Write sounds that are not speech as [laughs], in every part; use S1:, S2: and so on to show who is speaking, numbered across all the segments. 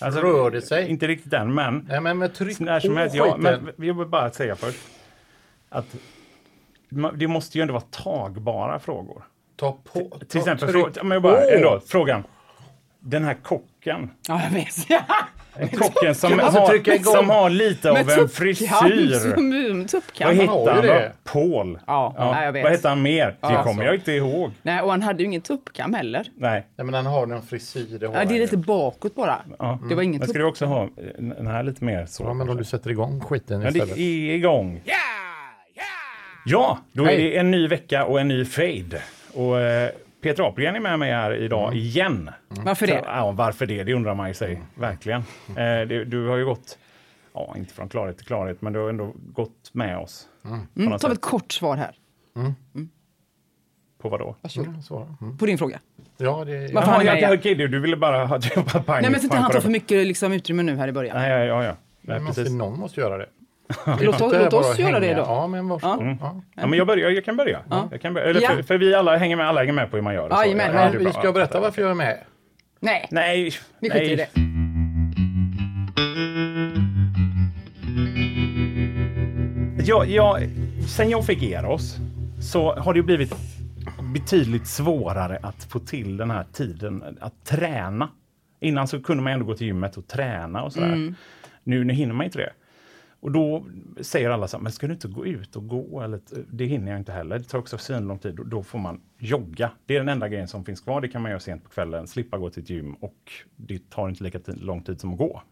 S1: Alltså, rör det sig?
S2: Inte riktigt än, men
S1: Nej, men, men tryck
S2: när
S1: på
S2: som helst. Jag,
S1: skiten.
S2: men jag vill bara säga först att ma- det måste ju ändå vara tagbara frågor.
S1: Ta på... Ta,
S2: Till exempel
S1: tryck
S2: frå- ja, men jag bara,
S1: på.
S2: ändå, frågan. Den här
S1: [laughs]
S2: kocken.
S3: Ja, jag vet.
S2: Kocken som,
S1: Alltså, trycka
S2: har,
S1: igång.
S2: som har lite av en frisyr.
S3: frisyr.
S2: Vad
S3: um,
S1: hit-
S3: Tuppkam.
S1: har ju
S2: hette han då?
S1: det.
S2: Paul.
S3: Ja, nej, jag vet.
S2: Vad hette han mer? Det
S3: Ja.
S2: kommer jag inte ihåg.
S3: Nej, och han hade ju ingen tuppkam heller.
S2: Nej.
S1: Nej, men han har någon frisyr. Det, har
S3: Ja,
S1: han
S3: det är
S1: ju.
S3: lite bakåt bara.
S2: Ja.
S3: Det var ingen
S2: Men ska du också ha eh, den här lite mer så?
S1: Ja, men om du sätter igång skiten
S2: Men det
S1: istället.
S2: är igång. Ja, då är
S1: Hej.
S2: det en ny vecka och en ny fade. Och eh, Peter Apelgren är med mig här idag igen.
S3: Mm. Varför
S2: Så,
S3: det? Mm.
S2: ja, varför det? Det undrar man ju sig verkligen. Eh, det, du har ju gått, ja, inte från klarhet till klarhet, men du har ändå gått med oss. På,
S3: Mm,
S2: något
S3: ta
S2: sätt.
S3: ett kort svar här
S2: på vadå?
S1: Mm, så. Mm.
S3: på din fråga.
S1: Ja, det är...
S3: Varför
S2: Jaha,
S3: han är
S2: jag,
S3: med
S2: jag,
S3: igen?
S2: okej, du, du ville bara ha [laughs] pang
S3: Nej, men så inte han tar för
S2: mycket.
S3: mycket liksom, utrymme nu här i början.
S2: Nej, ja, ja, ja. Nej,
S1: Men måste,
S2: precis.
S1: någon måste göra det.
S3: Låt,
S1: Det är
S3: låt
S1: bara
S3: oss
S1: att
S3: göra det
S1: hänga.
S3: då.
S1: Ja, men varsågod. Ja.
S2: Ja, men jag, börjar, jag kan börja. Jag kan börja. Eller,
S3: Mm. Ja.
S2: för, för vi alla hänger med, alla hänger med på hur man gör. och så.
S3: Jajamän.
S2: Ja, ja,
S3: Men
S2: det är
S1: vi
S2: bra.
S1: ska jag berätta varför jag är med.
S3: Nej,
S2: Nej,
S3: vi skiter i
S2: nej.
S3: det.
S2: Jag, jag, sen jag fick Eros så har det ju blivit betydligt svårare att få till den här tiden att träna. Innan så kunde man ändå gå till gymmet och träna och sådär. Nu, nu hinner man inte det. Och då säger alla så här, men ska du inte gå ut och gå? Eller, det hinner jag inte heller. Det tar också svinlång tid. Och då får man jogga. Det är den enda grejen som finns kvar. Det kan man göra sent på kvällen. Slippa gå till ett gym och det tar inte lika tid, lång tid som att gå.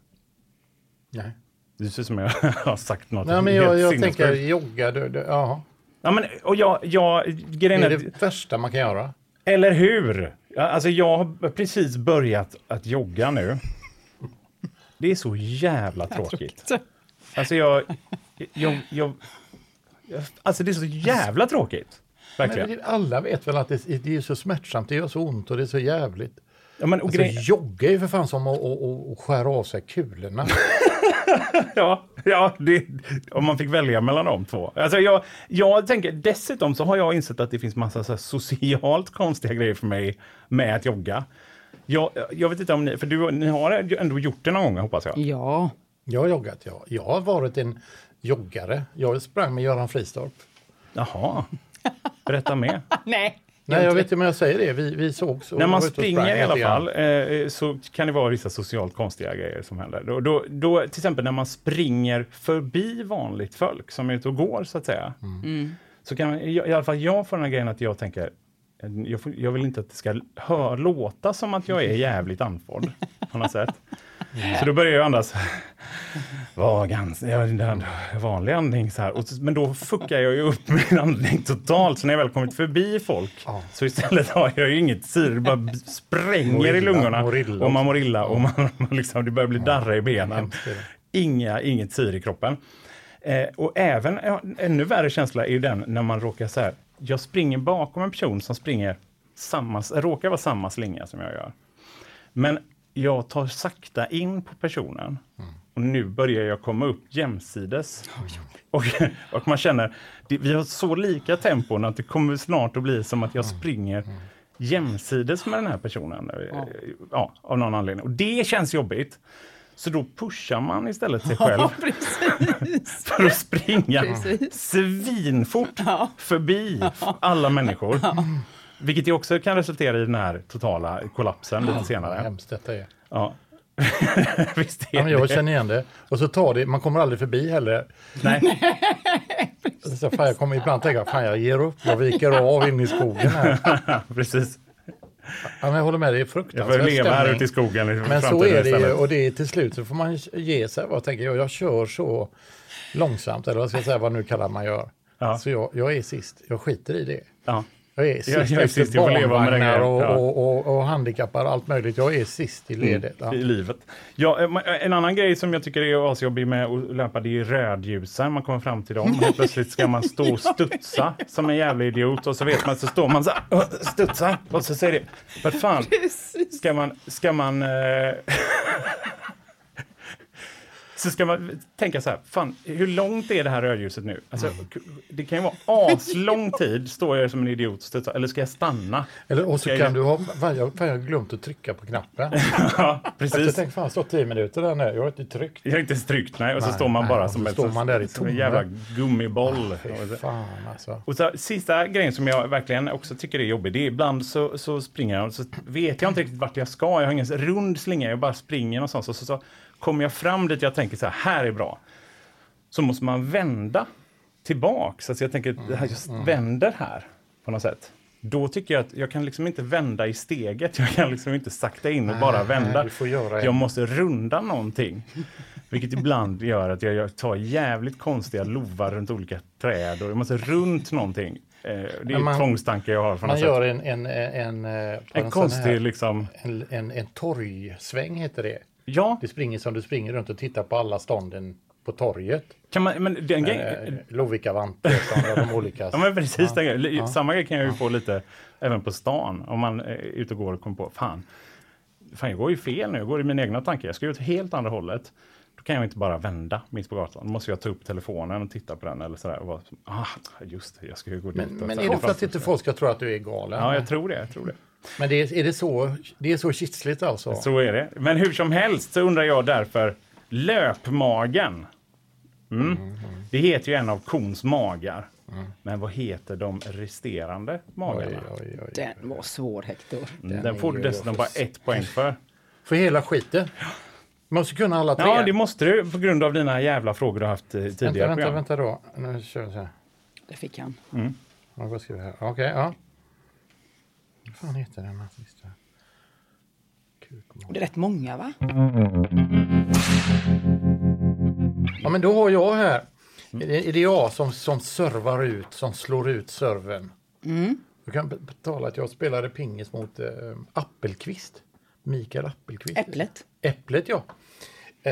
S1: Nej,
S2: Det ser ut som jag [laughs] har sagt något
S1: Nej men
S2: helt
S1: jag, jag
S2: sinnessjukt.
S1: tänker jogga. Det, det, ja.
S2: Ja, men, och jag, jag,
S1: det
S2: grejen
S1: är
S2: är,
S1: det värsta man kan göra.
S2: eller hur? Ja, Alltså jag har precis börjat att jogga nu. Det är så jävla tråkigt. Alltså jag, jag, jag, jag alltså det är så jävla tråkigt.
S1: Men
S2: Verkligen.
S1: det, alla vet väl att det, det är så smärtsamt, det gör så ont och det är så jävligt.
S2: Ja, men, och
S1: Alltså,
S2: grejen,
S1: jogga är ju för fan som att, att, att, att skära av sig kulorna.
S2: ja, ja det, om man fick välja mellan de två. Alltså jag, jag tänker, dessutom så har jag insett att det finns massa så här socialt [laughs] konstiga grejer för mig med att jogga. Jag, jag vet inte om ni, för du, ni har ändå gjort det någon gång hoppas
S3: Mm.
S2: jag.
S3: Ja, [laughs]
S1: Jag har joggat, ja. Jag har varit en joggare. Jag sprang med Göran Fristorp.
S2: Jaha. Berätta mer.
S3: nej.
S1: Nej, jag vet inte om jag säger det. Vi, vi sågs. och
S2: När man
S1: var ute och sprang
S2: springer i alla
S1: lite grann.
S2: fall eh, så kan det vara vissa socialt konstiga grejer som händer. Då, då, då, till exempel när man springer förbi vanligt folk som är ute och går så att säga. Så kan man, i, i alla fall jag får den här grejen att jag tänker eh, jag, får, jag vill inte att det ska hör, låta som att jag är jävligt andfådd på något sätt. Så då börjar jag andas. Var ganska, jag hade en vanlig andning så här. Och, så- men då fuckar jag ju upp [laughs] min andning totalt. Så när jag väl kommit förbi folk så istället har jag ju inget syre. Det bara b- spränger
S1: Mår
S2: i
S1: illa,
S2: lungorna.
S1: mår illa
S2: och man mår illa och man, man liksom, det börjar bli darra i benen. Inga, inget syre i kroppen. Eh, och även, ja, ännu värre känsla är ju den när man råkar så här. Jag springer bakom en person som springer samma, råkar vara samma slinga som jag gör. Men jag tar sakta in på personen
S3: Mm.
S2: och nu börjar jag komma upp jämsides. Och, och man känner, det, vi har så lika tempon att det kommer snart att bli som att jag
S3: Mm,
S2: springer jämsides med den här personen. Ja. Ja, av någon anledning. Och det känns jobbigt. Så då pushar man istället sig själv
S3: [laughs] Ja, precis.
S2: för att springa
S3: Precis.
S2: svinfort förbi alla människor. Vilket ju också kan resultera i den här totala kollapsen lite
S1: Vad
S2: senare.
S1: hemskt detta är.
S2: Ja. [laughs] Visst
S1: Ja,
S2: är
S1: men
S2: det.
S1: jag känner igen det. Och så tar det, man kommer aldrig förbi heller.
S2: Nej.
S1: Så fan, jag kommer ibland tänka, fan jag ger upp, jag viker av in i skogen här.
S2: [laughs] Precis.
S1: Ja, men jag håller med, det är
S2: Jag
S1: fruktansvärt
S2: får leva här
S1: stämning.
S2: ute i skogen i
S1: Men så
S2: framtiden
S1: är det ju
S2: istället.
S1: och det är till slut så får man ge sig. Vad tänker jag? Jag kör så långsamt, eller vad ska jag säga, vad nu kallar man gör.
S2: Ja.
S1: Så jag, jag är sist, jag skiter i det.
S2: Ja.
S1: Jag är sist,
S2: jag är
S1: efter
S2: sist, jag får leva med det här,
S1: barnvagnar och,
S2: ja. Mm.
S1: och, och, och handikappar och allt möjligt. Jag är sist i ledet. Ja.
S2: i livet. Ja, eh, men, eh, en annan grej som jag tycker är asjobbig med att löpa, det är ju rödljusen. Man kommer fram till dem och helt plötsligt ska man stå och studsa som en jävla idiot och så vet man, så står man så här, "Åh, studsa, och så säger det, vad fan,
S3: Precis.
S2: ska man, ska man... Eh, så ska man tänka så här, fan, hur långt är det här rödljuset nu? Alltså, det kan ju vara aslång tid, står jag som en idiot och studsar, eller ska jag stanna?
S1: Eller, och så
S2: Okej.
S1: kan du ha... Fan, jag fan, jag har glömt att trycka
S2: [laughs]
S1: på knappen.
S2: Ja,
S1: Jag
S2: precis.
S1: tänkte, fan, står tio minuter där nu. Jag har inte tryckt.
S2: Jag har inte strykt, nej. Och så
S1: Nej,
S2: står man
S1: nej,
S2: bara
S1: och
S2: som,
S1: så
S2: ett,
S1: står man där i
S2: som en
S1: tomma. Ah,
S2: jävla gummiboll.
S1: Fy fan alltså.
S2: och så, sista grejen som jag verkligen också tycker är jobbig, det är ibland så, så springer jag och så vet jag inte riktigt vart jag ska. Jag har ingen rund slinga, jag bara springer någonstans och så, så kommer jag fram dit jag tänker så här, här är bra. Så måste man vända tillbaks. Alltså jag tänker, det här
S1: Mm,
S2: just vänder här på något sätt. Då tycker jag att jag kan liksom inte vända i steget. Jag kan liksom inte sakta in och bara vända.
S1: nej, du får göra en.
S2: jag måste runda någonting. Vilket ibland gör att jag gör- tar jävligt konstiga lovar runt olika träd. Och jag måste runt någonting. Eh, Det är
S1: man-
S2: en tvångstanke jag har. På
S1: Man
S2: något
S1: gör
S2: sätt.
S1: en... En, en, eh, på
S2: En
S1: en sån här-
S2: konstig liksom...
S1: En, en, en torgsväng heter det.
S2: Ja,
S1: Du springer som du springer runt och tittar på alla stånden på torget.
S2: kan man, men den grejen...
S1: Eh, Lovikka Vante, som de olika.
S2: [laughs] Ja, men precis. den grejen. Li- Samma grej kan jag ju få lite även på stan om man är ute och går och kommer på, fan, fan jag går ju fel nu, jag går i mina egna tankar, jag ska ju åt helt andra hållet. Då kan jag inte bara vända mitt på gatan, då måste jag ta upp telefonen och titta på den eller sådär. Och vara, som, ah, just det, jag ska ju gå dit. och
S1: Men
S2: så
S1: är
S2: här."
S1: det för att inte folk ska tro att du är galen?
S2: Ja, jag tror det, jag tror det.
S1: Men det är, är det så, det är så kitsligt alltså?
S2: Så är det. Men hur som helst så undrar jag därför, löpmagen. Mm. Det heter ju en av kons magar. Men vad heter de resterande
S1: Mm. Oj,
S2: magarna?
S1: oj, oj.
S3: Den var svår, Hector.
S2: Den,
S1: är
S2: får
S1: ju-
S2: du dessutom
S1: jag
S2: bara
S1: får-
S2: ett poäng
S1: [laughs]
S2: för.
S1: För hela skiten? Måste kunna alla tre?
S2: Ja, det måste du på grund av dina jävla frågor du har haft eh, tidigare
S1: vänta, vänta,
S2: program.
S1: vänta då. Nu kör vi så här.
S3: Det fick han.
S1: Ja, Vad skriver jag här? Okej, ja. Vad fan heter den här sista?
S3: Och det är rätt många, va?
S1: Ja, men då har jag här. Är det- Är det jag som, som servar ut, som slår ut serven? Du kan be- betala att jag spelade pingis mot eh, Appelqvist. Mikael Appelqvist.
S3: Äpplet.
S1: Äpplet, ja.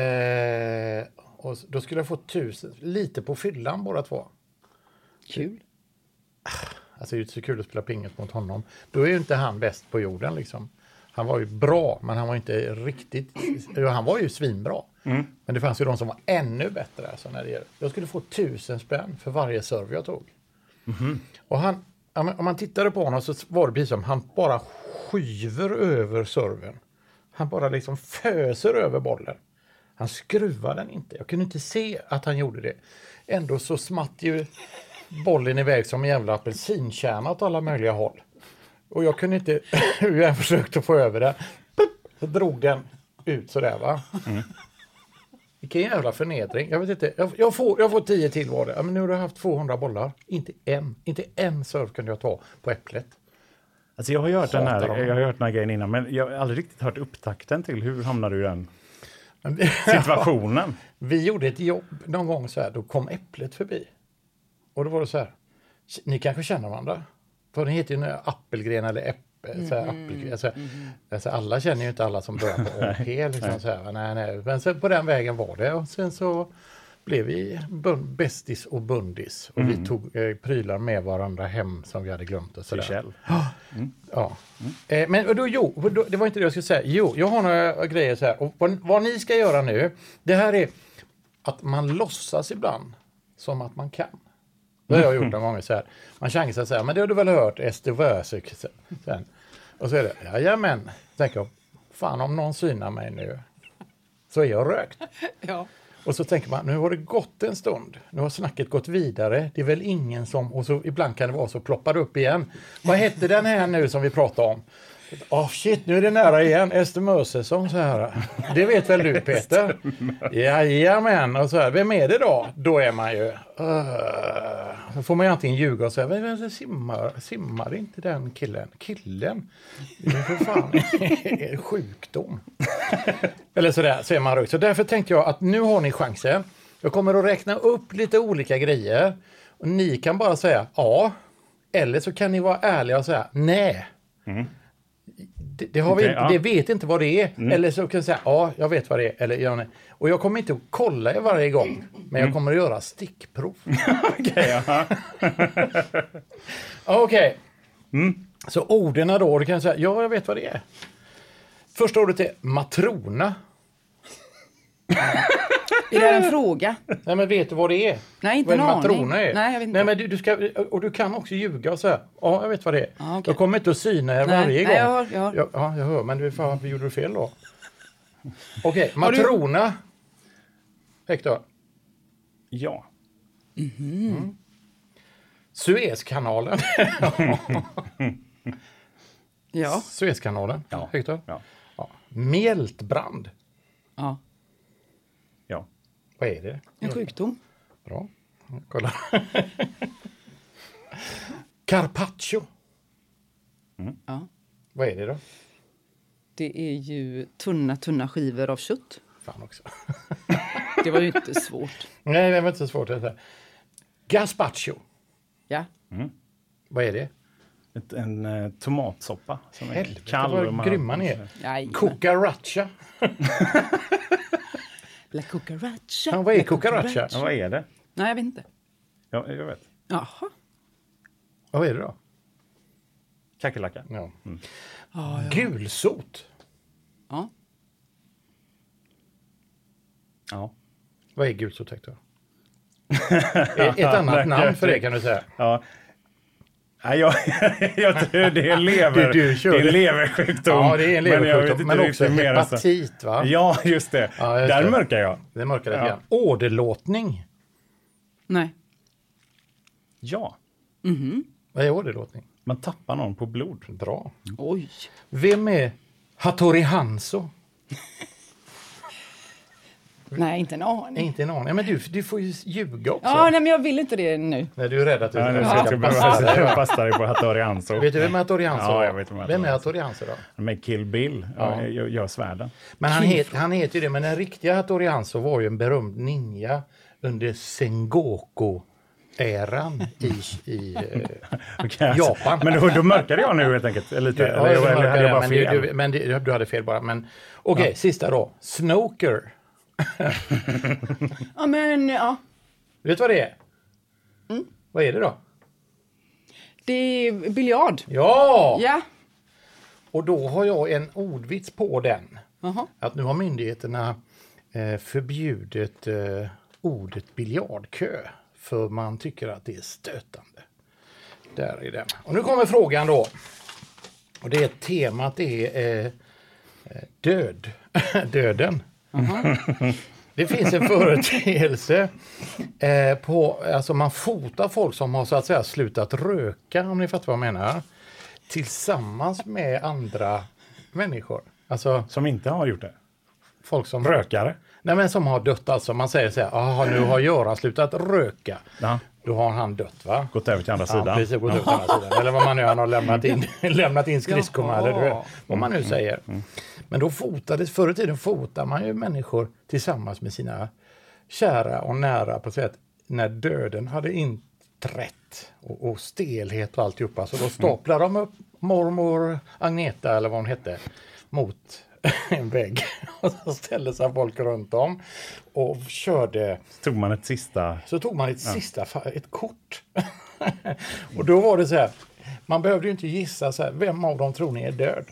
S1: Eh, och s- då skulle jag få tusen, lite på fyllan båda två.
S3: Kul.
S1: Alltså det är ju inte så kul att spela pingis mot honom. Då är ju inte han bäst på jorden liksom. Han var ju bra, men han var inte riktigt... jo, Han var ju svinbra. Men det fanns ju de som var ännu bättre. Alltså, när det gäller. Jag skulle få tusen spänn för varje serve jag tog. Och han, ja, men om man tittade på honom så var det precis som han bara skyver över serven. Han bara liksom föser över bollen. Han skruvar den inte. Jag kunde inte se att han gjorde det. Ändå så smatt ju bollen iväg som en jävla apelsinkärna åt alla möjliga håll. Och jag kunde inte, [laughs] hur jag än försökte få över den, pip, så drog den ut sådär va. Vilken jävla förnedring. Jag vet inte, jag, jag, får, jag får tio till var det. Ja, men nu har jag haft 200 bollar. Inte en, inte en serve kunde jag ta på Äpplet.
S2: Alltså jag har ju hört den
S1: Hatar
S2: här,
S1: dem.
S2: jag har hört den här grejen innan, men jag har aldrig riktigt hört upptakten till hur hamnade du i den
S1: Men vi- [laughs]
S2: situationen?
S1: Vi gjorde ett jobb någon gång så här, då kom Äpplet förbi. Och då var det så här, ni kanske känner varandra? För den heter ju nu Appelgren eller Äppel. Så här, Appelgren, alltså, alltså, alla känner ju inte alla som börjar på AP. liksom, så här, nej, nej. Men sen på den vägen var det. Och sen så blev vi bun- bästis och bundis. Och vi tog eh, prylar med varandra hem som vi hade glömt. Och så
S2: Till
S1: där.
S2: Kjell.
S1: Ja. Eh, men och då, jo, och då, det var inte det jag skulle säga. Jo, jag har några grejer så här. Och vad, vad ni ska göra nu, det här är att man låtsas ibland som att man kan. Det har jag gjort några gånger så här. Man chansar så här, men det har du väl hört, Ester Wösek. så- sen. Och så är det, jajamän. Tänker jag, fan om någon synar mig nu så är jag rökt.
S3: Ja.
S1: Och så tänker man, nu har det gått en stund. Nu har snacket gått vidare. Det är väl ingen som... Och så ibland kan det vara så ploppar det upp igen. Vad hette den här nu som vi pratade om? Åh shit, nu är det nära igen. Ester Mösesson så här. Det vet väl du Peter? Jajamän, och så här. Vem är det då? Då är man ju... Uh, då får man ju antingen ljuga och säga, "Men, men simmar, simmar inte den killen? Killen? Det är för fan [laughs] sjukdom. Eller sådär, så är man rökt. Så därför tänkte jag att nu har ni chansen. Jag kommer att räkna upp lite olika grejer. Och ni kan bara säga ja, Eller så kan ni vara ärliga och säga nej. Det, det, har vi,
S2: Mm. Okej,
S1: inte-
S2: ja. Mm.
S1: det vet inte vad det är. Eller så kan jag säga ja, jag vet vad det är. Eller, ja, nej. Och jag kommer inte att kolla er varje gång, men jag kommer att göra stickprov.
S2: Mm. [laughs] Okej, ja.
S1: [laughs] Okej.
S2: Mm.
S1: Så orden då, då kan jag säga ja, jag vet vad det är. Första ordet är matrona.
S3: Är det en fråga?
S1: Nej, men vet du vad det är?
S3: Nej, inte
S1: vad en
S3: en aning.
S1: matrona är?
S3: Nej, jag vet inte.
S1: Nej, men du, du ska, och du kan också ljuga och säga, ja, jag vet vad det är.
S3: Ja, Ah, okej.
S1: Jag kommer inte att syna er
S3: Nej,
S1: varje gång.
S3: nej, jag hör, jag hör.
S1: Ja, ja, jag hör, men du, fan, varför gjorde du fel
S3: [laughs]
S1: då? Okej, matrona. Hector.
S2: ja.
S1: Suezkanalen.
S3: [laughs] Ja.
S1: Suezkanalen.
S2: Ja.
S1: Hector.
S2: Ja.
S1: Ja. Mältbrand.
S3: ja.
S2: ja.
S1: Vad är det?
S3: En sjukdom.
S1: Bra. Ja, Kolla. [laughs] Carpaccio.
S3: Ja.
S1: Vad är det då?
S3: Det är ju tunna, tunna skivor av kött.
S1: Fan också. [laughs]
S3: Det var ju inte svårt.
S1: Nej, det var inte så svårt. Det här. Gazpacho.
S3: Ja.
S1: Vad är det?
S2: Ett, en eh, tomatsoppa. Som
S1: Helvete vad
S2: och
S1: grymma ni är.
S3: Nej.
S1: Cucaracha.
S3: La cucaracha.
S1: Ja, vad är
S3: La
S1: cucaracha?
S2: Ja, vad är det?
S3: Nej, jag vet inte.
S2: Ja, jag vet.
S3: Jaha.
S1: Vad är det då?
S2: Kackerlacka.
S1: Ja.
S2: Mm.
S1: Gulsot.
S3: Ja.
S2: Ja.
S1: Vad är gulsot,
S2: [laughs]
S1: Hector? Ett annat namn för det kan du säga.
S2: Ja. Nej, jag, [laughs] jag tror det är lever.
S1: [laughs] Du- du kör
S2: det är en
S1: det.
S2: leversjukdom.
S1: Ja, det är en
S2: Men jag vet
S1: leversjukdom.
S2: inte
S1: Men, också
S2: riktigt mer alltså. än så.
S1: hepatit, va?
S2: Ja, just det.
S1: Ja, just
S2: Där
S1: det.
S2: mörkar jag.
S1: Det mörkar lite
S2: Ja.
S1: grann. Åderlåtning.
S3: Nej.
S2: Ja,
S1: Vad är åderlåtning?
S2: man tappar någon på blod.
S1: Bra.
S3: Oj.
S1: Vem är Hattori Hanso?
S3: Nej, inte en aning.
S1: Inte en aning. Men du, du får ju ljuga också.
S3: Ja, nej, men jag vill inte det nu.
S1: Nej, du är rädd att du
S2: Ja, nu ska
S1: ska
S2: jag inte
S1: passa dig.
S2: behöva [laughs] pasta dig på Hattori Hanzo.
S1: Vet du vem Hattori Hanso
S2: Ja,
S1: var?
S2: jag vet vem Hattori
S1: Vem är
S2: Hanzo.
S1: Hattori Hanso då?
S2: Med Kill Bill. Ja. Jag gör svärden.
S1: Men han, het, han heter ju det, men den riktiga Hattori Hanzo var ju en berömd ninja under Sengoku-äran i... i eh,
S2: [laughs] Okej, alltså.
S1: Japan.
S2: Men då, då mörkade jag nu helt enkelt. Lite.
S1: ja,
S2: Eller,
S1: jag
S2: eller,
S1: märker
S2: hade jag bara fel?
S1: det, men, du, du, men det- du hade fel bara. Men, Okej, sista då. Snoker.
S3: Ja, men ja.
S1: Vet du vad det är? Vad är det då?
S3: Det är biljard.
S1: Ja!
S3: Ja.
S1: Och då har jag en ordvits på den.
S3: Jaha.
S1: Att nu har myndigheterna eh, förbjudit eh, ordet biljardkö för man tycker att det är stötande. Där är den. Och nu kommer frågan då. Och det är temat är eh, eh, död. [laughs] Döden. Det finns en företeelse eh, på, alltså man fotar folk som har så att säga slutat röka, om ni fattar vad jag menar, tillsammans med andra människor. Alltså
S2: Som inte har gjort det.
S1: folk som
S2: Rökare.
S1: Nej, men som har dött alltså. Man säger så här, "Aha, nu har Göran slutat röka.
S2: Ja.
S1: Då har han dött va?
S2: Gått över till andra
S1: Ja,
S2: sidan.
S1: precis, gått ut på andra sidan. Eller vad man nu han har lämnat in, lämnat in skridskorna. eller du vet, Vad man nu säger. Men då fotades, förr i tiden fotade man ju människor tillsammans med sina kära och nära på ett sätt när döden hade inträtt och, och stelhet och alltihopa. Så då staplade de upp mormor Agneta eller vad hon hette mot [laughs] en vägg. [laughs] Och så ställde sig folk runt om och körde
S2: Tog man ett sista...
S1: så tog man ett sista fa- ett kort. [laughs] och då var det så här, man behövde ju inte gissa så här, vem av dem tror ni är död?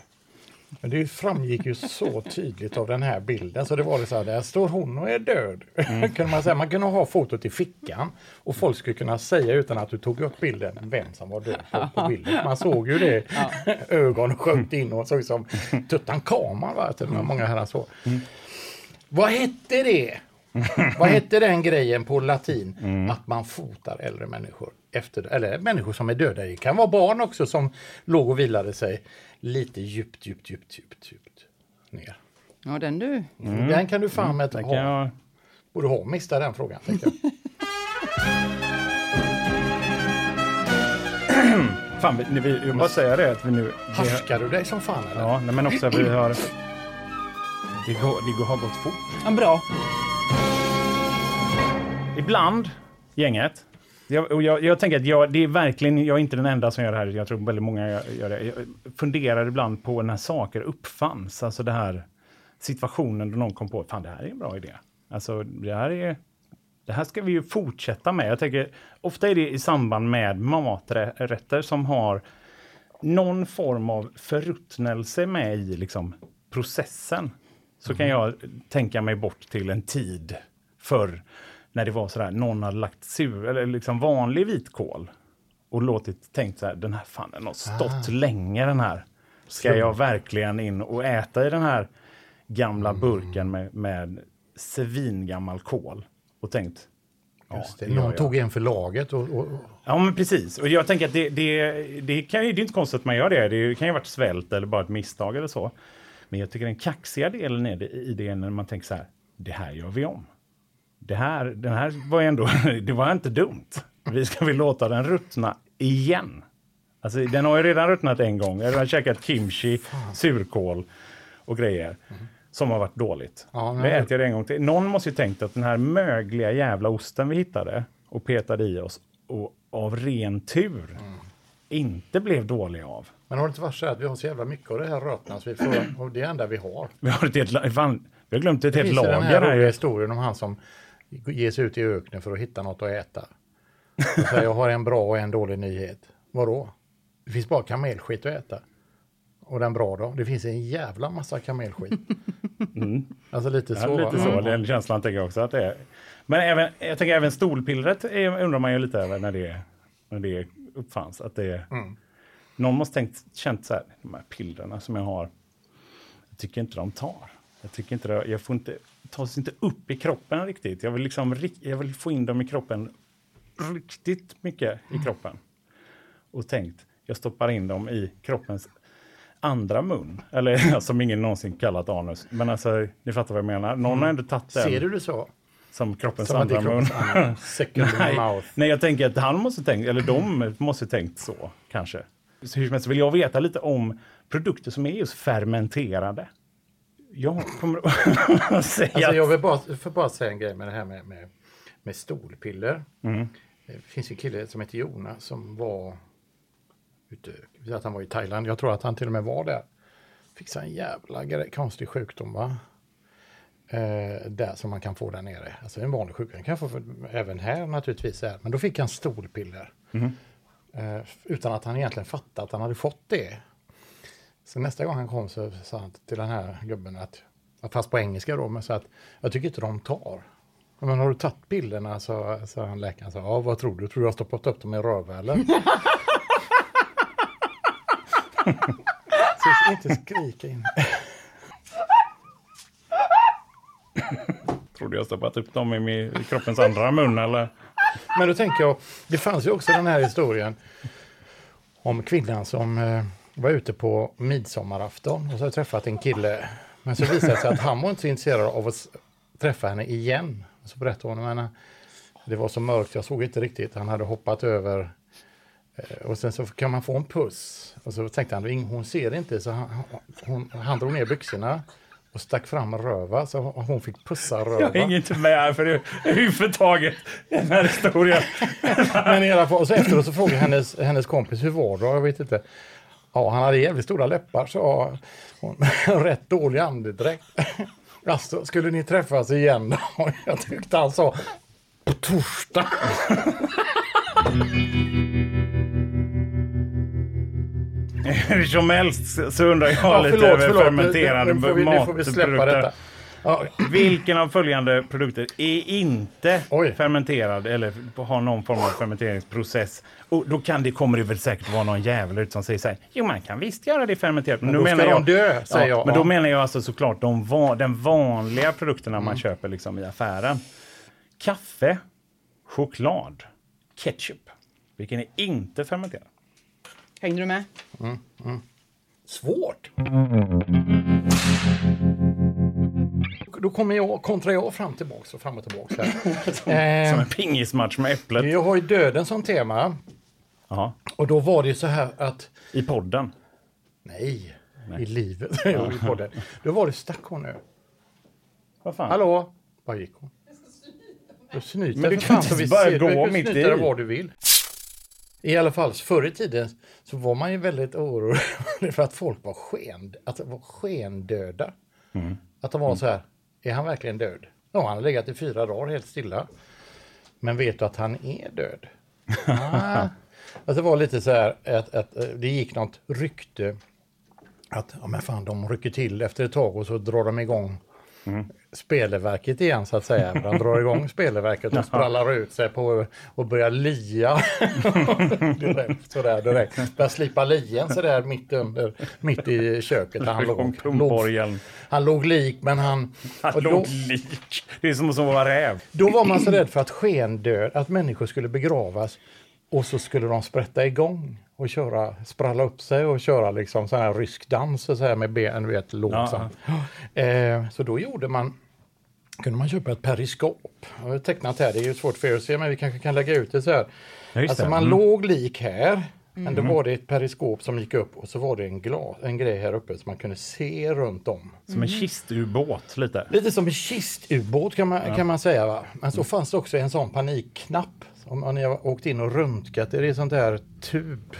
S1: Men det framgick ju så tydligt av den här bilden så det var det så här, där står hon och är död. [laughs] kunde man, säga. man kunde ha fotot i fickan och folk skulle kunna säga utan att du tog upp bilden vem som var död på, på bilden. Man såg ju det, [laughs] ögonen sjönk in och såg ut som Tutankhamun, va? Till och med många herrans år. Vad hette det? Vad hette den grejen på latin?
S2: Mm.
S1: Att man fotar äldre människor. Efter, eller människor som är döda. Det kan vara barn också som låg och vilade sig lite djupt, djupt, djupt, djupt, djupt ner.
S3: Ja, den du.
S1: Den kan du fan med att
S2: Mm. Kan
S1: ha.
S2: jag...
S1: Borde ha missat den frågan. tänker
S2: [laughs]
S1: jag.
S2: Fan, vi, ni- vi, jag måste säga det att vi nu... Vi har,
S1: Härskar du dig som fan eller?
S2: ja, nej, men också vi har... Det, går, det går, har gått fort.
S3: Ja, bra.
S2: Ibland, gänget, Jag, och jag, jag tänker att jag, det är verkligen, jag är inte den enda som gör det här. Jag tror väldigt många gör- gör det. Jag funderar ibland på när saker uppfanns. Alltså det här situationen då någon kom på, fan det här är en bra idé. Alltså det här är, det här ska vi ju fortsätta med. Jag tänker, ofta är det i samband med maträtter som har någon form av förruttnelse med i liksom, processen. Så kan jag tänka mig bort till en tid förr när det var så där, någon hade lagt sur, eller liksom vanlig vitkål och låtit tänkt så här, den här fan den har stått länge den här. Ska jag verkligen in och äta i den här gamla burken med, med svingammal kål? Och tänkt,
S1: Just det.
S2: det gör
S1: Någon
S2: jag.
S1: tog en för laget och, och, och
S2: Ja, men precis. Och jag tänker att det, det, det, kan ju, det är inte konstigt att man gör det. Det kan ju ha varit svält eller bara ett misstag eller så. Men jag tycker den kaxiga delen är det, i det är när man tänker så här, det här gör vi om. Det här, den här var ju ändå, [laughs] det var inte dumt. Vi ska väl låta den ruttna igen. Alltså, den har ju redan ruttnat en gång. Jag har käkat kimchi, surkål och grejer som har varit dåligt.
S1: Ja,
S2: nu
S1: men-
S2: äter jag det en gång till. Någon måste ju tänkt att den här mögliga jävla osten vi hittade och petade i oss och av ren tur
S1: Mm.
S2: inte blev dålig av.
S1: Men har det inte varit så här att vi har så jävla mycket av det här rötnas vi får, och det är det enda vi har.
S2: Vi har, ett helt, la- fan, vi har glömt ett
S1: Det
S2: helt
S1: finns ju den här
S2: lager här.
S1: roliga
S2: ju.
S1: historien om han som ger sig ut i öknen för att hitta något att äta. Och säger, jag har en bra och en dålig nyhet. Vadå? Det finns bara kamelskit att äta. Och den bra då? Det finns en jävla massa kamelskit. Alltså lite så.
S2: Mm. Ja, lite
S1: va?
S2: så.
S1: Mm.
S2: Den känslan tänker jag också att det är. Men även, jag tänker även stolpillret är, undrar man ju lite över när det, när det uppfanns. Att det, Någon måste tänkt, känt så här, de här pillren som jag har, jag tycker inte de tar. Jag tycker inte det, jag får inte, tas inte upp i kroppen riktigt. Jag vill, liksom, rik- jag vill få in dem i kroppen riktigt mycket
S1: Mm.
S2: i kroppen. Och tänkt, jag stoppar in dem i kroppens andra mun. Eller [laughs] alltså, som ingen någonsin kallat anus. Men alltså, ni fattar vad jag menar. Någon har ändå tagit den
S1: Mm. Ser du det så?
S2: som kroppens
S1: Som att det
S2: andra
S1: är
S2: mun. [laughs]
S1: kroppens andra- second
S2: Nej,
S1: mouth.
S2: nej, jag tänker att han måste tänkt, eller de måste tänkt så kanske. Så hur som helst vill jag veta lite om produkter som är just fermenterade. Jag kommer att [laughs] säga
S1: [laughs] Alltså, jag
S2: att...
S1: vill bara, får bara säga en grej med det här med, med, med stolpiller. Eh, Det finns ju en kille som heter Jonas som var ute, att han var i Thailand. Jag tror att han till och med var där. Fixade en jävla grej, konstig sjukdom va? Eh, där som man kan få där nere. Alltså en vanlig sjukdom. kan få för, även här naturligtvis. Här. Men då fick han stolpiller. Eh, utan att han egentligen fattade att han hade fått det. Så nästa gång han kom så sa han till den här gubben att, fast på engelska då, men så att jag tycker inte de tar. Men har du tagit bilderna? Så, så han läkaren sa, ja vad tror du? Tror du jag har stoppat upp dem i rövhålen? så inte skrika in.
S2: Tror du jag stoppat upp dem i min- i kroppens andra mun eller?
S1: Men då tänker jag, det fanns ju också den här historien om kvinnan som eh, var ute på midsommarafton och så hade träffat en kille. Men så visade det sig att han var inte så intresserad av att s- träffa henne igen. Och så berättade hon, men eh, det var så mörkt, jag såg inte riktigt, han hade hoppat över. Eh, Och sen så kan man få en puss. Och så tänkte han, "Ing- hon ser inte, så han, hon, han drog ner byxorna och stack fram röva, så hon fick pussa röva.
S2: Jag hänger inte med här för det är huvudtaget i den här historien.
S1: Men i alla fall, och så efteråt så frågade hennes, hennes kompis hur var det? Jag vet inte. Ja, han hade jävligt stora läppar, så hon. [laughs] Rätt dålig andedräkt. [laughs] Alltså, skulle ni träffas igen då? [laughs] Jag tyckte han sa på torsdag.
S2: Hur som helst så undrar jag lite över fermenterade
S1: Nu får vi, nu får vi släppa
S2: matprodukter.
S1: detta. Ja,
S2: Vilken av följande produkter är inte
S1: Oj.
S2: fermenterad eller har någon form av fermenteringsprocess? Och då kan det, kommer det väl säkert vara någon jävel ut som säger så här, jo man kan visst göra det fermenterat. Men,
S1: då
S2: då
S1: ska
S2: menar
S1: de
S2: jag,
S1: dö, säger jag.
S2: Men då
S1: Ja.
S2: menar jag alltså såklart de va, den vanliga produkterna
S1: Mm.
S2: man köper liksom i affären. Kaffe, choklad, ketchup. Vilken är inte fermenterad?
S3: Hängde du med?
S1: svårt. Då kommer jag, kontrar jag fram tillbaks och fram och tillbaks här.
S2: [laughs] Som
S1: Eh,
S2: en pingismatch med äpplet.
S1: jag har ju döden som tema
S2: Ja,
S1: och då var det ju så här att
S2: I podden.
S1: Nej, i livet. [laughs] Jo, i podden. Då var det, stack hon nu?
S2: Vad fan?
S1: Hallå? Var gick hon? Du snyter
S2: Men du kan
S1: för fan,
S2: inte
S1: så vi
S2: bara
S1: ser-
S2: gå
S1: du kan
S2: mitt
S1: snyta
S2: i.
S1: dig var du vill. I alla fall, förr i tiden så var man ju väldigt orolig [laughs] för att folk var, sken, att de var skendöda.
S2: Mm.
S1: Att de var så här, är han verkligen död? Ja, han har legat i fyra dagar helt stilla. Men vet du att han är död? Ah. Att det var lite så här att, att eh, det gick något rykte att ja, men fan, de rycker till efter ett tag och så drar de igång
S2: Mm.
S1: spelverket igen så att
S2: [laughs]
S1: säga. De drar igång spelverket och sprallar ut sig på och börjar
S2: [laughs]
S1: lia. direkt, sådär direkt. Börjar slipa lien sådär mitt, under, mitt i köket där han låg. låg.
S2: Kronborgen.
S1: Han låg lik men han...
S2: Han
S1: och då-
S2: låg lik. Det är som att vara räv.
S1: då var man så rädd för att skendöd, att människor skulle begravas och så skulle de sprätta igång och köra, spralla upp sig och köra liksom sån här rysk dans och så här med ben, du vet, låg
S2: Ja,
S1: så här. Eh, Så då gjorde man, kunde man köpa ett periskop. Jag har tecknat här, det är ju svårt för er att se men vi kanske kan lägga ut det så här.
S2: Ja, just
S1: alltså
S2: det.
S1: man
S2: Mm.
S1: låg lik här. Men då var det ett periskop som gick upp och så var det en, glas, en grej här uppe som man kunde se runt om.
S2: Som en kistubåt lite.
S1: Lite som en kistubåt kan man, kan man säga. Va? Men så fanns det också en sån panikknapp. Om om ni har åkt in och röntgat, det är sånt där tub.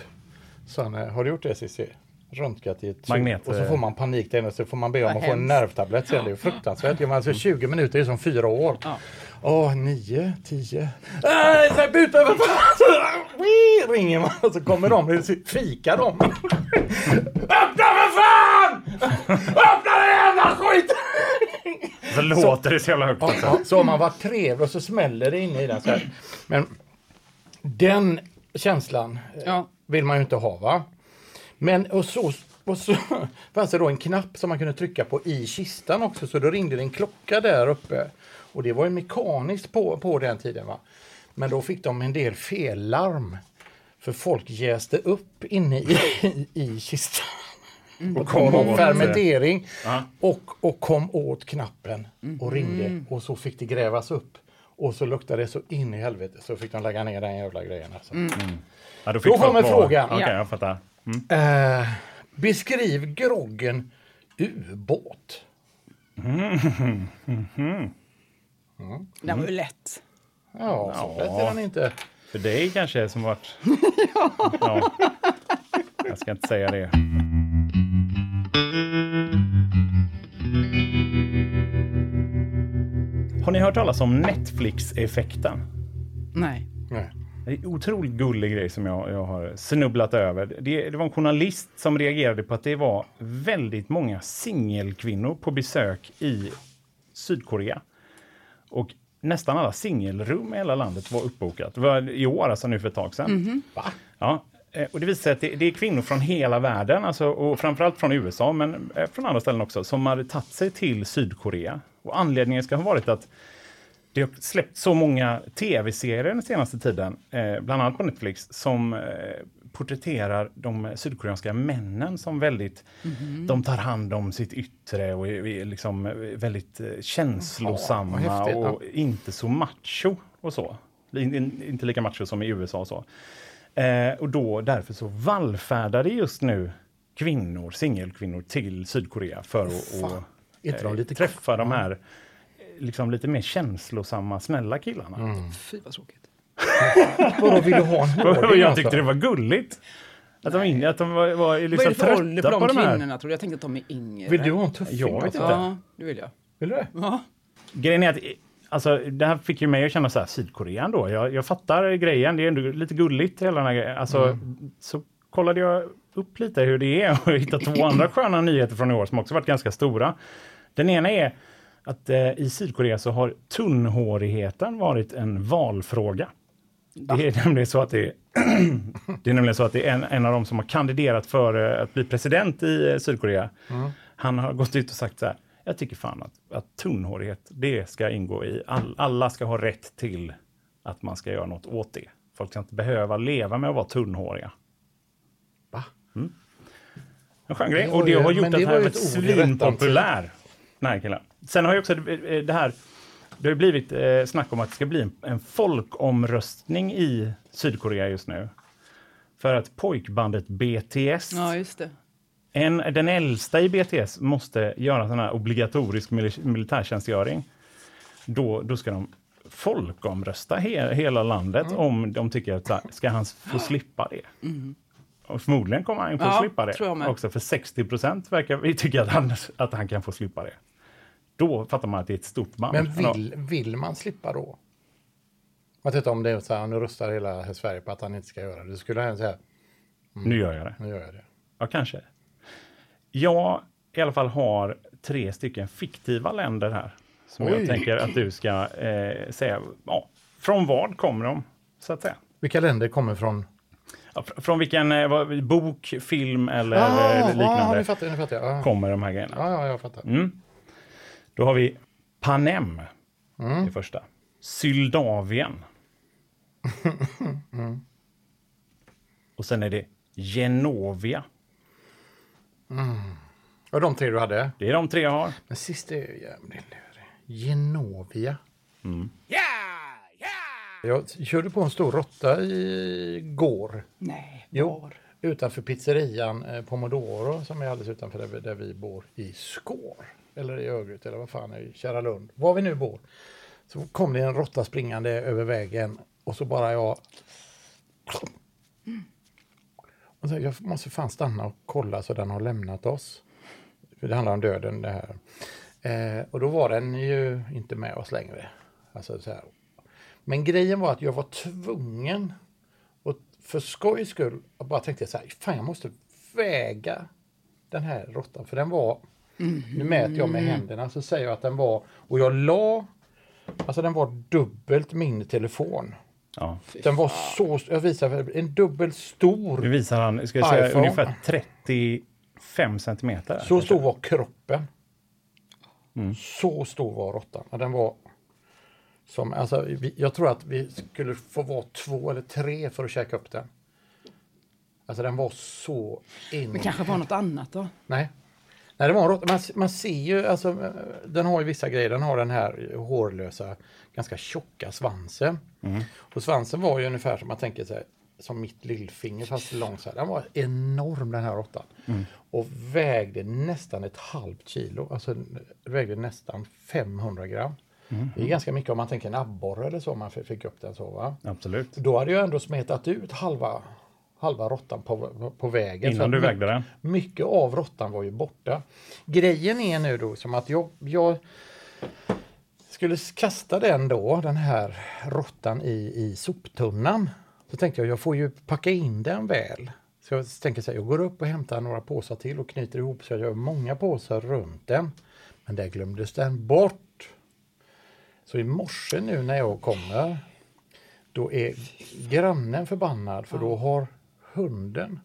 S1: Sanne, har du gjort det Cissi? Röntgat i ett tub.
S2: Magnet,
S1: och så
S2: eh.
S1: får man panik där inne och så får man be om
S3: Vad
S1: att få en
S3: hemskt.
S1: nervtablett sen. Det är ju fruktansvärt. Ja, men Alltså 20 minuter är som fyra år. Åh, nio, tio. Äh, Nej, släpp ut mig! vad fan! Så Ringer man och så kommer de och fikar de. Öppna för fan! Öppna den jävla skiten!
S2: Så låter det så jävla högt också.
S1: Ja, Så har man varit trevlig och så smäller det inne i den så här. Men den känslan eh,
S3: Ja.
S1: vill man ju inte ha va? Men och så, och så [laughs] fanns det då en knapp som man kunde trycka på i kistan också så då ringde det en klocka där uppe. Och det var ju mekaniskt på, på den tiden va? Men då fick de en del fellarm. För folk jäste upp inne i, [laughs] i, i kistan.
S2: Och
S1: Kom
S2: åt det.
S1: fermentering
S2: Ja. Mm.
S1: och, och kom åt knappen och ringde och så fick det grävas upp. Och så luktade det så in i helvete så fick de lägga ner den jävla grejen. Alltså.
S2: Mm. Ja, då fick
S1: Då
S2: folk
S1: kommer
S2: vara-
S1: frågan.
S2: Okej,
S3: Ja.
S2: jag fattar. Mm.
S1: Eh, beskriv groggen ubåt.
S3: Det
S1: Mm.
S3: var ju lätt.
S1: Ja, så lätt är den inte.
S2: För dig kanske som varit... ja. Jag ska inte säga det. Har ni hört talas om Netflix-effekten?
S3: Nej.
S2: [laughs]
S1: Nej.
S2: Det är en otroligt gullig grej som jag, jag har snubblat över. Det, det var en journalist som reagerade på att det var väldigt många singelkvinnor på besök i Sydkorea. Och nästan alla singelrum i hela landet var uppbokat. Det var i år, alltså nu för ett tag sedan. Ja, eh, och det visar sig att det, det är kvinnor från hela världen, alltså, och framförallt från USA, men eh, från andra ställen också, som hade tagit sig till Sydkorea. Och anledningen ska ha varit att det har släppt så många tv-serier den senaste tiden, eh, bland annat på Netflix, som eh, porträtterar de sydkoreanska männen som väldigt...
S1: Mhm.
S2: De tar hand om sitt yttre och är, är liksom eh, väldigt eh, känslosamma
S1: Ja, vad häftigt, ja.
S2: och inte så macho och så. In, in, inte lika macho som i USA och så. Eh, och då, därför så vallfärdar det just nu kvinnor, singelkvinnor till Sydkorea för att
S1: Fan.
S2: att,
S1: Är inte de
S2: eh,
S1: lite
S2: träffa de här eh, liksom lite mer känslosamma, snälla killarna. [laughs]
S3: Fy vad tråkigt.
S1: Vadå, vill du ha en
S2: Och
S1: hårding
S2: jag tyckte
S1: alltså?
S2: det var gulligt. Att de, in, att de var, var
S3: Vad är
S2: liksom
S3: det för ålder på
S2: trötta
S3: de,
S2: på de här.
S3: kvinnorna tror du? Jag tänkte att de är yngre.
S1: Vill du ha en tuffing?
S2: Jag vet
S1: alltså?
S2: inte.
S3: Ja, det vill jag.
S1: Vill du det?
S3: Ja.
S2: Grejen är att eh, Alltså, det här fick ju mig att känna så här, Sydkorea ändå. Jag, jag fattar grejen, det är ändå lite gulligt hela den här grejen. Alltså, Så kollade jag upp lite hur det är och [laughs] hittade två andra sköna nyheter från i år som också varit ganska stora. Den ena är att eh, i Sydkorea så har tunnhårigheten varit en valfråga. Det är nämligen så att
S1: [clears throat]
S2: det är, det är, nämligen så att det är en, en av dem som har kandiderat för eh, att bli president i eh, Sydkorea.
S1: Mm.
S2: Han har gått ut och sagt så här. Jag tycker fan att, att tunnhårighet, det ska ingå i all, alla ska ha rätt till att man ska göra något åt det. Folk ska inte behöva leva med att vara tunnhåriga. Mm.
S1: Va?
S2: En skön grej.
S1: Det var
S2: Och det
S1: ju-
S2: har gjort
S1: men
S2: att
S1: det
S2: den här
S1: var
S2: har
S1: ju
S2: blivit
S1: ett ord i rättan
S2: svinpopulär. Den här killen. Sen har ju också eh, det här, det har ju blivit eh, snack om att det ska bli en, en folkomröstning i Sydkorea just nu. För att pojkbandet BTS,
S3: ja, just det.
S2: en, den äldsta i BTS, måste göra sån här obligatorisk mili- militärtjänstgöring. Då, då ska de folkomrösta he, hela landet om de tycker att så här, ska han få slippa det. Och förmodligen kommer han ju få
S3: Mm. Ja,
S2: slippa det
S3: tror jag med.
S2: också, för 60 procent verkar vi tycka att han, att han kan få slippa det. Då fattar man att det är ett stort band.
S1: Men
S2: Ja.
S1: vill, vill man slippa då? Jag vet inte om det är så här, nu röstar hela Sverige på att han inte ska göra det. Då skulle han säga,
S2: Nu gör jag det.
S1: nu gör jag det.
S2: Ja, kanske. Jag i alla fall har tre stycken fiktiva länder här som jag
S1: Oj.
S2: tänker att du ska eh, säga. Ja, från vad kommer de, så att säga?
S1: Vilka länder kommer från?
S2: Ja, fr- från vilken eh, vad- bok, film eller eh,
S1: ah,
S2: liknande Mm.
S1: nu fattar jag. Nu fattar jag. Ah.
S2: kommer de här grejerna?
S1: Ja, ja, jag fattar.
S2: Då har vi Panem,
S1: Mm.
S2: det första. Syldavien.
S1: Mm.
S2: Och sen är det Genovia.
S1: Och de tre du hade?
S2: Det är de tre jag har.
S1: Men sist är ju jävligt lurig. Genovia. Jag körde på en stor råtta igår.
S3: Nej.
S1: Jo, utanför pizzerian eh, Pomodoro som är alldeles utanför där vi, där vi bor i Skår. Eller i Örgryte eller vad fan, i Kärralund. Var vi nu bor. Så kom det en råtta springande över vägen och så bara jag... Och så, jag måste fan stanna och kolla så den har lämnat oss. För det handlar om döden det här. Eh, och då var den ju inte med oss längre. Alltså, så här. Men grejen var att jag var tvungen och för skojs skull jag bara tänkte jag så här, fan jag måste väga den här råttan. För den var, nu mäter jag med händerna, så säger jag att den var, och jag la, alltså den var dubbelt min telefon.
S2: Ja.
S1: Den var så, jag visar, för- en dubbelt stor.
S2: Nu visar han, ska jag säga,
S1: iPhone.
S2: ungefär 35 centimeter.
S1: Så stor var kroppen. Så stor var råttan. Och Den var som, alltså, vi, jag tror att vi skulle få vara två eller tre för att käka upp den. Alltså den var så in.
S3: Det kanske var något annat då?
S1: Nej. Nej, det var en råtta. Man, man ser ju, alltså, eh, den har ju vissa grejer. Den har den här hårlösa, ganska tjocka svansen. Och svansen var ju ungefär som man tänker sig, som mitt lillfinger fast lång. Så här. Den var enorm den här råttan. Och vägde nästan ett halvt kilo, alltså den vägde nästan 500 gram. Det är ganska mycket om man tänker en abborre eller så, om man f- fick upp den så. Va?
S2: Absolut.
S1: Då hade jag ändå smetat ut halva, halva råttan på, på, på vägen. Så
S2: Innan
S1: att
S2: du
S1: mycket-
S2: vägde den.
S1: mycket av råttan var ju borta. Grejen är nu då som att jag, jag skulle kasta den då, den här råttan i, i soptunnan. Så tänkte jag, jag får ju packa in den väl. Så jag tänker så här, jag går upp och hämtar några påsar till och knyter ihop så jag gör många påsar runt den. Men där glömdes den bort. Så i morse nu när jag kommer, då är grannen förbannad för då har hunden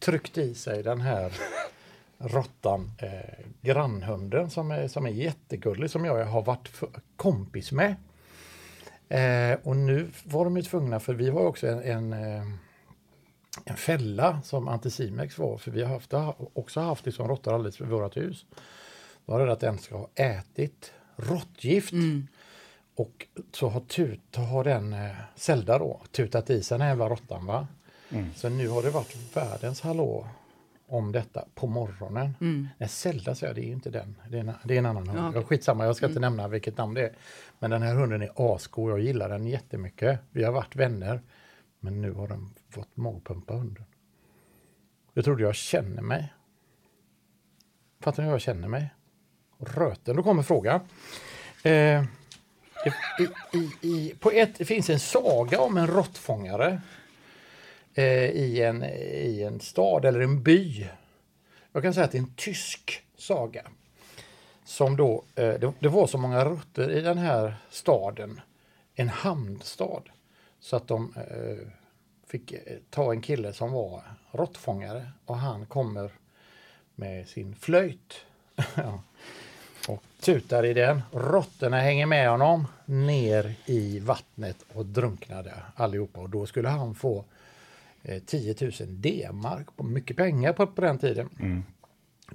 S1: tryckt i sig den här [laughs] råttan, eh, grannhunden som är, som är jättegullig, som jag har varit f- kompis med. Eh, och nu var de ju tvungna, för vi har också en, en, eh, en fälla som Anticimex var, för vi har haft, också haft det som råttor alldeles vid vårt hus. Då har det att den ska ha ätit råttgift. Och så har, tut, har den eh, Zelda då tutat i sig den här jävla råttan. Va?
S3: Mm.
S1: Så nu har det varit världens hallå om detta på morgonen. Nej, Zelda säger jag, det är ju inte den. Det är en, det är en annan hund.
S3: Mm. Ja, okej. Mm.
S1: Jag skitsamma, jag ska inte nämna vilket namn det är. Men den här hunden är asgo, jag gillar den jättemycket. Vi har varit vänner. Men nu har den fått magpumpa hunden. Jag trodde jag känner mig. Fattar ni hur jag känner mig? Röten. Då kommer frågan. Eh, i, i, i, på ett det finns en saga om en råttfångare eh, i, en, i en stad eller en by. Jag kan säga att det är en tysk saga. Som då, eh, det, det var så många råttor i den här staden, en hamnstad, så att de eh, fick eh, ta en kille som var råttfångare och han kommer med sin flöjt. [laughs] ja och tutar i den. Råttorna hänger med honom ner i vattnet och drunknade allihopa. Och då skulle han få eh, 10 000 D-mark, på mycket pengar på, på den tiden.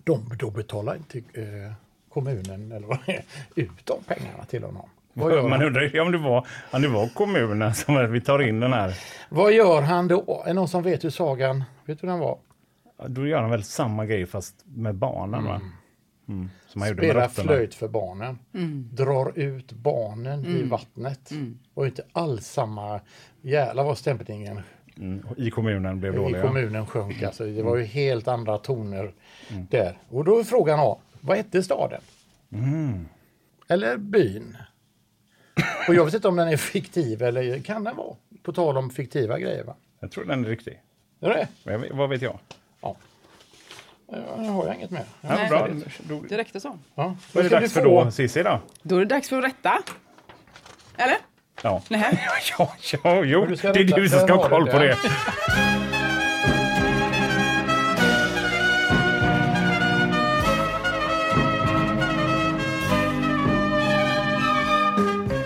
S1: De, då betalar inte eh, kommunen eller vad det är, ut de pengarna till honom. Vad gör,
S2: Man
S1: han?
S2: undrar ju om det var, om det var kommunen som var- vi tar in den här.
S1: vad gör han då? Är det någon som vet hur sagan, vet du hur den var?
S2: Då gör han väl samma grej fast med barnen va? Som man gjorde med
S1: Mm. Spela
S2: råttorna.
S1: flöjt för barnen. Drar ut barnen i vattnet. Och inte alls samma... Jävlar vad stämpeltingen
S2: Mm, och I kommunen blev
S1: i
S2: dåliga. Mm.
S1: kommunen sjönk. Alltså, det var ju helt andra toner där. Och då är frågan A, vad hette staden?
S2: Mm.
S1: Eller byn? Och jag vet inte om den är fiktiv eller kan den vara? På tal om fiktiva grejer. Va?
S2: Jag tror den är riktig.
S1: Är det?
S2: Men jag vet- Vad vet jag?
S1: Ja. Eh, Nu har jag inget mer. Ja.
S2: Ja,
S3: Nej.
S2: bra. Då,
S3: Det räckte så.
S1: Ja.
S2: då är det
S1: ska
S2: dags
S1: vi
S2: för
S1: få-
S2: då, Cissi då?
S3: Då är det dags för att rätta. Eller?
S1: [laughs]
S2: Ja.
S3: [laughs] Nej.
S2: Ja, ja, jo,
S1: du
S2: det
S1: ska
S2: är
S1: rätta-
S2: du som ska
S1: där
S2: ha
S1: har
S2: koll
S1: du
S2: på
S1: det. [laughs]
S2: det.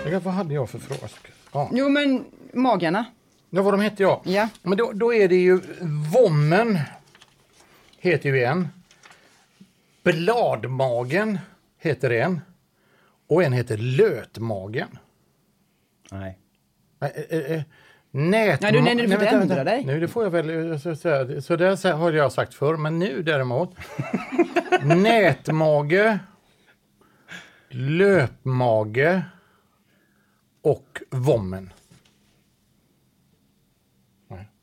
S1: Jag vet, Vad hade jag för fråga? Ja.
S3: Jo, men magarna.
S1: Ja, vad de hette ja.
S3: Ja.
S1: Men då, då är det ju Vommen heter ju en. Bladmagen heter en. Och en heter Lötmagen.
S2: Nej.
S1: Äh, äh, äh, Nät...
S3: Nej, du- nej, du får inte
S1: vänta,
S3: ändra
S1: vänta.
S3: dig.
S1: Nu, det får jag väl... eh, Så, så, så där så- har jag sagt förr, men nu
S3: [laughs]
S1: däremot. Nätmage, löpmage och vommen.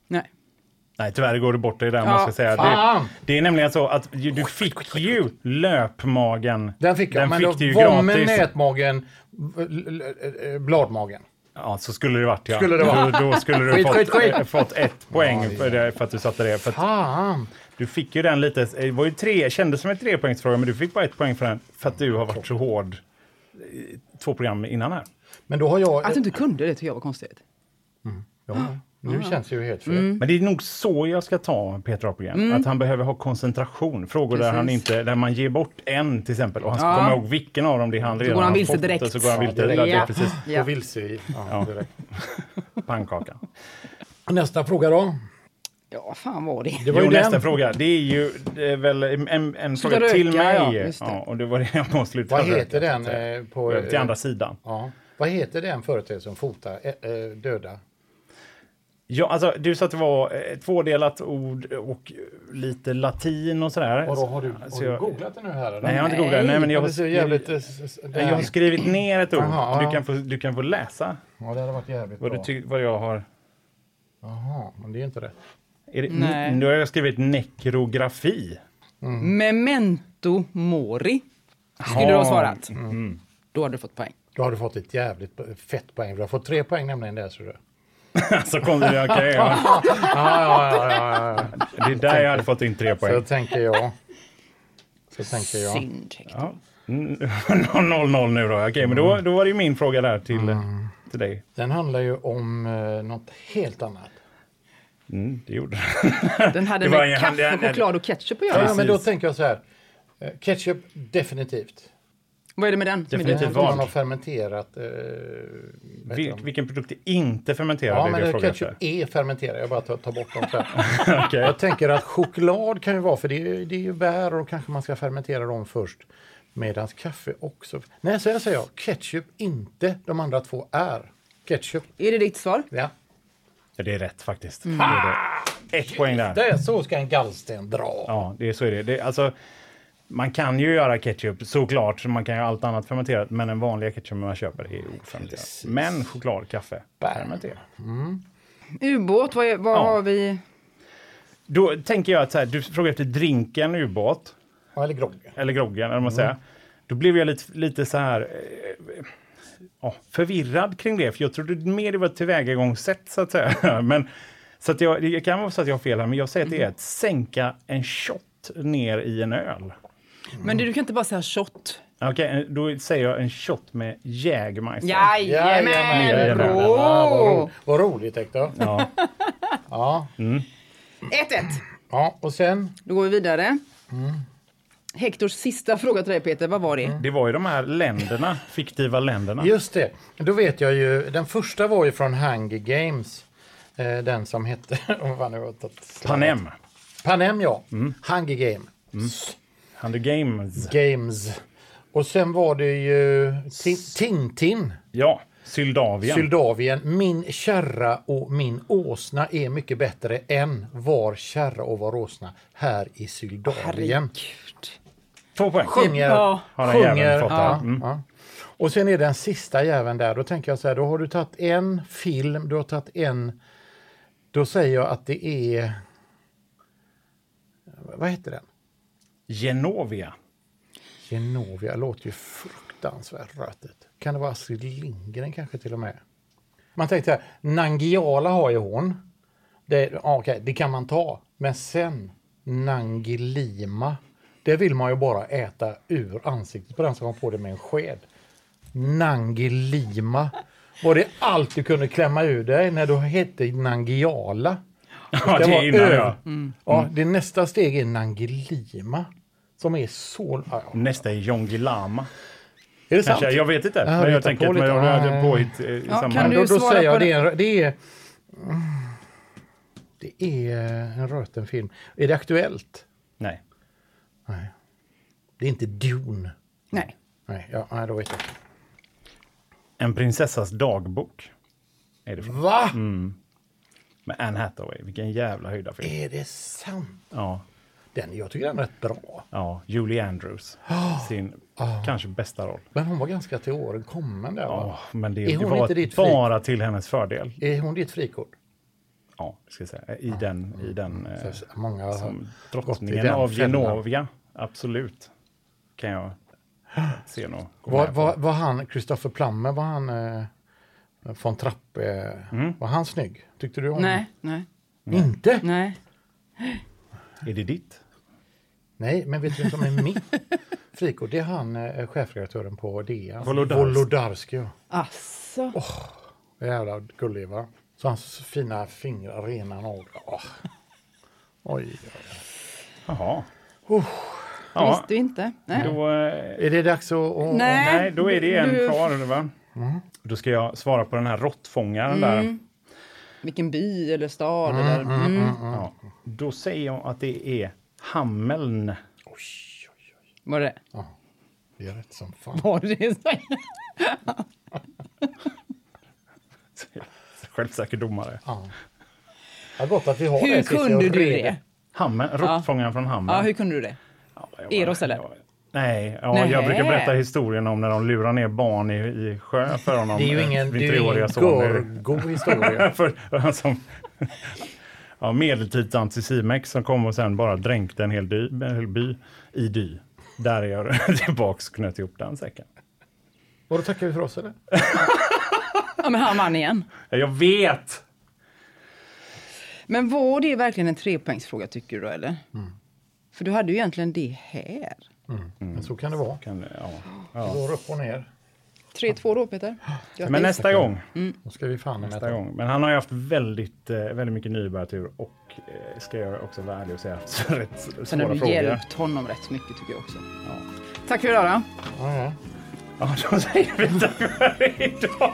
S3: Nej.
S2: Nej, tyvärr går du bort dig där
S3: Ja,
S2: måste jag säga. Det,
S1: fan.
S2: det är nämligen så att ju- du fick ju löpmagen.
S1: Den fick jag,
S2: Den
S1: men
S2: fick du ju
S1: då, vommen,
S2: gratis.
S1: nätmagen, v- l- l- eh, bladmagen.
S2: Ja, så skulle det varit ja.
S1: Skulle det vara.
S2: Då, då skulle du
S1: Skit,
S2: fått,
S1: skit, skit.
S2: eh, fått ett poäng för, det, för att du satte det. För att
S3: Ah.
S1: Fan!
S2: du fick ju den lite, det var ju tre, kändes som en trepoängsfråga, men du fick bara ett poäng för den. För att du har varit så hård eh, två program innan här.
S1: Men då har jag...
S3: Att du Ah. inte kunde det tycker jag var konstigt.
S1: ja, nu känns det ju helt fel.
S3: Mm.
S2: Men det är nog så jag ska ta Peter Apelgren. Att han behöver ha koncentration. Frågor där,
S3: Precis.
S2: han inte, där man ger bort en till exempel och han ska
S3: Ja.
S2: komma ihåg vilken av dem det är han redan
S3: går han
S2: har
S3: vilse
S2: fått,
S3: direkt.
S2: och Så går han
S1: Ja,
S2: vilse
S1: direkt.
S2: direkt. Ja,
S3: Ja.
S2: precis.
S1: Då
S3: Ja.
S1: vilse i. Ja, direkt.
S2: Pannkaka.
S1: Nästa fråga då.
S3: Ja, fan var [laughs] det?
S1: Det var
S2: jo,
S1: ju
S2: nästa
S1: den.
S2: fråga. Det är ju det är väl en, en fråga
S3: röka,
S2: till mig.
S3: ja, just det.
S2: Ja, och det var det jag avslutade.
S1: Vad heter den eh, på...
S2: Till
S1: eh,
S2: andra sidan.
S1: Ja. Vad heter den företeelse som fotar eh, eh, döda?
S2: Ja, alltså, du sa att det var eh, tvådelat ord och eh, lite latin och sådär. Så Alltså, jag-
S1: googlat det nu här? Eller?
S2: Nej, jag har inte
S3: Nej.
S2: googlat. Nej, men jag
S1: det ser jävligt... eh,
S2: har,
S1: s- s-
S2: jag har skrivit ner ett ord.
S1: Jaha,
S2: du,
S1: ja.
S2: kan få, du kan få läsa
S1: Ja, det hade varit jävligt
S2: vad, du
S1: bra.
S2: ty, vad jag har...
S1: Jaha, men det är inte rätt.
S2: Är det,
S3: Nej.
S2: Nu har jag skrivit nekrografi. [laughs]
S3: Memento mori. Skulle du ha
S2: Mm. Ja. Mm.
S3: svarat. Då hade du fått poäng.
S1: Då har du fått ett jävligt p- fett poäng. Du har fått tre poäng nämligen där. Så du.
S2: alltså, kom det, okay, ja.
S1: [laughs] Ja, ja, ja, ja, ja.
S2: det är där jag hade fått in tre
S1: Så
S2: poäng.
S1: tänker jag. Så tänker jag.
S3: Synd. Hector.
S2: Ja. Mm, [laughs] 0-0 nu då. Okej, men då,
S1: Mm.
S2: då var det ju min fråga där till, till dig.
S1: Den handlar ju om eh, något helt annat.
S2: Mm, det gjorde
S3: [laughs] Den hade
S2: Det var
S3: med
S2: ingen-
S3: kaffe,
S2: den- den-
S3: choklad och ketchup att göra.
S1: Ja,
S2: Precis.
S1: men då tänker jag så här. eh, Ketchup, definitivt.
S3: Vad är det med den? som är
S2: Definitivt.
S3: det?
S2: vad?
S1: Man har fermenterat. Eh, vad heter
S2: Vil,
S1: de?
S2: vilken produkt är inte fermenterad?
S1: ja,
S2: är det
S1: men
S2: jag
S1: eh,
S2: frågar
S1: ketchup är fermenterad. Jag bara tar, tar bort dem. Där.
S2: efter. Okej.
S1: Jag tänker att choklad kan ju vara, för det är, det är ju bär och kanske man ska fermentera dem först. Medan kaffe också. Nej, så här säger jag. Ketchup inte. De andra två är ketchup.
S3: Är det ditt svar?
S1: Ja.
S2: Ja, det är rätt faktiskt.
S3: Mm.
S2: Det är det. Ett poäng där.
S1: Där, så ska en gallsten dra.
S2: Ja, det är, så är det. det är, alltså, man kan ju göra ketchup såklart, så man kan göra allt annat fermenterat, men den vanliga ketchupen man köper är ofermenterad. Men choklad, kaffe, fermenterat.
S3: Ubåt, vad, är, vad
S2: Ja. Mm.
S3: har vi?
S2: Då tänker jag att så här, du frågar efter drinken ubåt,
S1: Ja. Eller groggen.
S2: eller groggen, eller vad man säger. Då blev jag lite, lite så här eh, ja, förvirrad kring det, för jag trodde mer det var ett tillvägagångssätt, så att säga. [laughs] Men, så att jag, det kan vara så att jag har fel här, men jag säger att det är att sänka en shot ner i en öl.
S3: Men du, du kan inte bara säga shot.
S2: Okej, eh, då säger jag en shot med Jägermeister.
S3: Jajamän!
S2: Jajamän.
S1: Ja, vad,
S3: Åh!
S1: roligt. vad roligt Hector.
S2: Ja.
S1: Ja.
S3: 1-1.
S1: ja, och sen?
S3: Då går vi vidare. Mm. Hektors sista fråga till dig, Peter. Vad var det?
S2: Det var ju de här
S1: [laughs]
S2: länderna, fiktiva länderna.
S1: Just det. Då vet jag ju. Den första var ju från Hunger Games. Eh, den som hette... [laughs] Oh, fan, nu har jag tagit slarvat.
S2: Panem,
S1: Panem, ja. Hunger Game.
S2: Hunger Games,
S1: Games. Och sen var det ju Tin- Tintin,
S2: ja, Syldavien.
S1: Syldavien. Min kärra och min åsna är mycket bättre än var kärra och var åsna här i Syldavien.
S3: Herregud.
S2: Två poäng.
S1: Sjunger.
S3: Ja.
S2: Har den
S1: sjunger.
S2: jäveln fått
S1: ja,
S2: den. Mm.
S1: ja. Och sen är den sista jäveln där. Då tänker jag så här, då har du tagit en film, du har tagit en... Då säger jag att det är... Vad heter den?
S2: Genovia.
S1: Genovia låter ju fruktansvärt rötet. Kan det vara Astrid Lindgren kanske till och med? Man tänkte så här, Nangiala har ju hon. Det, ja, okej, det kan man ta. Men sen Nangilima. Det vill man ju bara äta ur ansiktet på den som kom på det med en sked. Nangilima. Var det allt du kunde klämma ur dig när du hette Nangiala?
S2: Ja, det är
S1: var
S2: innan
S1: öl.
S2: ja. Mm.
S1: Ja, det nästa steg är Nangilima. Som är så... Ja, ja.
S2: Nästa är Jongilama.
S1: Är det sant?
S2: Kanske, jag vet inte.
S1: Ja,
S2: men
S1: vi
S2: jag
S1: tar
S2: tänker
S1: på
S2: att man
S1: lite.
S2: gör
S1: Nej.
S2: ett påhitt eh, i
S3: Ja,
S2: samband.
S3: kan
S1: Men
S3: du-
S1: då, då
S3: svara
S1: säger jag
S3: på
S1: det är, det är... Det är en röten film. Är det aktuellt?
S2: Nej.
S1: Nej. Det är inte Dune.
S3: Nej.
S1: Nej, ja, nej då vet jag.
S2: En prinsessas dagbok. Är det från.
S1: Va?
S2: Mm. Med Anne Hathaway. Vilken jävla höjdarfilm.
S1: Är det sant?
S2: Ja.
S1: Den, jag tycker den är rätt bra.
S2: ja. Julie
S1: [gasps]
S2: Andrews. Sin
S1: Ah.
S2: kanske bästa roll.
S1: Men hon var ganska till åren kommen där va?
S2: Ja, men det,
S1: Ah. Är
S2: det
S1: hon
S2: var
S1: inte ditt fri-
S2: bara till hennes fördel.
S1: Är hon ditt frikort?
S2: Ja, ska jag säga. I den, i den eh,
S1: För Många har
S2: som
S1: Mm. gått i
S2: drottningen
S1: den
S2: av
S1: fällan.
S2: Genovia. Absolut. Kan
S1: [gasps]
S2: jag se nog. gå
S1: Var,
S2: med
S1: var,
S2: på.
S1: var han, Kristoffer Plammer, var han eh, från Trappe, eh,
S2: Mm.
S1: var han snygg? Tyckte du om
S3: Nej. Nej.
S1: Inte?
S3: Nej.
S2: Är det ditt?
S1: Nej, men vet du vem som är mitt frikort? Det är han, eh, chefredaktören på DN.
S2: Wolodarsk.
S1: Wolodarski. ja.
S3: Alltså.
S1: Jävla gullig, va? Så hans fina fingrar, rena naglar. Åh. Oj, oj.
S2: Jaha.
S3: Det
S2: Ja,
S3: visste vi inte. Nej.
S2: då, eh,
S1: Är det dags att... att
S3: Nej.
S2: nej, då är det en
S3: Du-
S2: kvar. eller Va?
S1: Mm.
S2: Då ska jag svara på den här råttfångaren
S3: Mm.
S2: där.
S3: Vilken by eller stad eller... Mm.
S2: Ja. Då säger jag att det är Hameln.
S1: Oj, oj, oj.
S3: Var det?
S1: Det är rätt som fan.
S3: Var [laughs] det?
S2: [laughs] Självsäker domare.
S1: Ja. Ja, gott att vi har
S3: Hur
S1: det, Cissi,
S3: kunde
S1: och
S3: du
S1: reder.
S3: det?
S2: Hammen, råttfångaren från Hameln.
S3: Ja, hur kunde du det?
S2: Ja, jag var-
S3: Eros, eller?
S2: jag- Nej, ja, jag
S3: Nähä.
S2: brukar berätta historien om när de lurar ner barn i, i sjö
S1: [laughs]
S2: för honom.
S1: Det är ju
S2: eh,
S1: ingen, det
S2: min
S1: är ju
S2: treåriga
S1: ingen
S2: son nu. [laughs]
S1: görgod historia.
S2: för, som, ja, medeltidsantisimisk som kom och sen bara dränkte en hel, dy, en hel by i dy. Där är jag [laughs] tillbaks och knöt ihop den säcken.
S1: Och då tackar vi för oss, eller?
S3: Ja, men han vann igen.
S2: Ja, Jag vet!
S3: Men var det verkligen en trepoängsfråga tycker du då, eller? För du hade ju egentligen det här.
S1: Men så kan det vara.
S2: Kan, Mm. ja.
S1: Det går upp och ner.
S3: 3-2 då, Peter. Grattis.
S2: Men nästa
S1: Mm.
S2: gång.
S1: Då ska vi fan
S2: Nästa
S1: nästa
S2: gång. Men han har ju haft väldigt, eh, väldigt mycket nybörjartur och eh, ska jag också vara ärlig och säga [laughs] så rätt svåra
S3: Sen har du
S2: frågor.
S3: hjälpt honom rätt mycket tycker jag också. Tack för idag då.
S1: Ja, ja.
S2: Ja, då säger vi tack för idag!